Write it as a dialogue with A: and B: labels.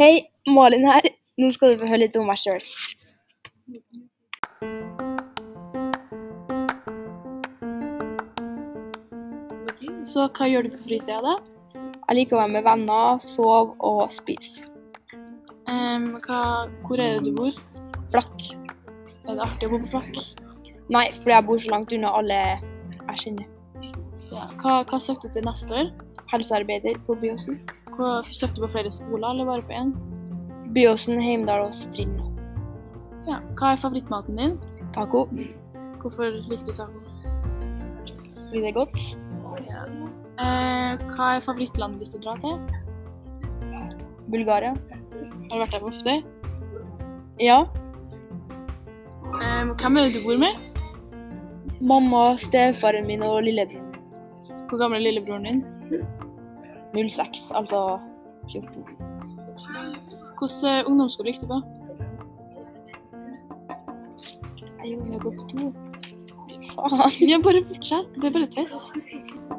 A: Hei, Malin her. Nå skal du få høre litt om meg sjøl.
B: Så hva gjør du på fritida, da?
A: Jeg liker å være med venner, sove og spise.
B: Ehm, hva, hvor er det du bor?
A: Flakk.
B: Er det artig å bo på flakk?
A: Nei, fordi jeg bor så langt unna alle jeg kjenner.
B: Ja. Hva, hva søkte du til neste år?
A: Helsearbeider på Byåsen.
B: Hva, søkte du på flere skoler, eller bare på én?
A: Byåsen, Heimdal og Strind.
B: Ja. Hva er favorittmaten din?
A: Taco.
B: Hvorfor liker du taco?
A: Blir det er godt?
B: Ja. Eh, hva er favorittlandet ditt å dra til?
A: Bulgaria.
B: Har du vært der for ofte?
A: Ja.
B: Ehm, hvem er det du bor med?
A: Mamma, stefaren min og lillebror.
B: Hvor gammel er lillebroren din?
A: 06, altså 14.
B: Hvilken eh, ungdomsskole gikk du på?
A: Jeg gjorde jo godt to. Faen.
B: Ja, bare fortsett. Det er bare test.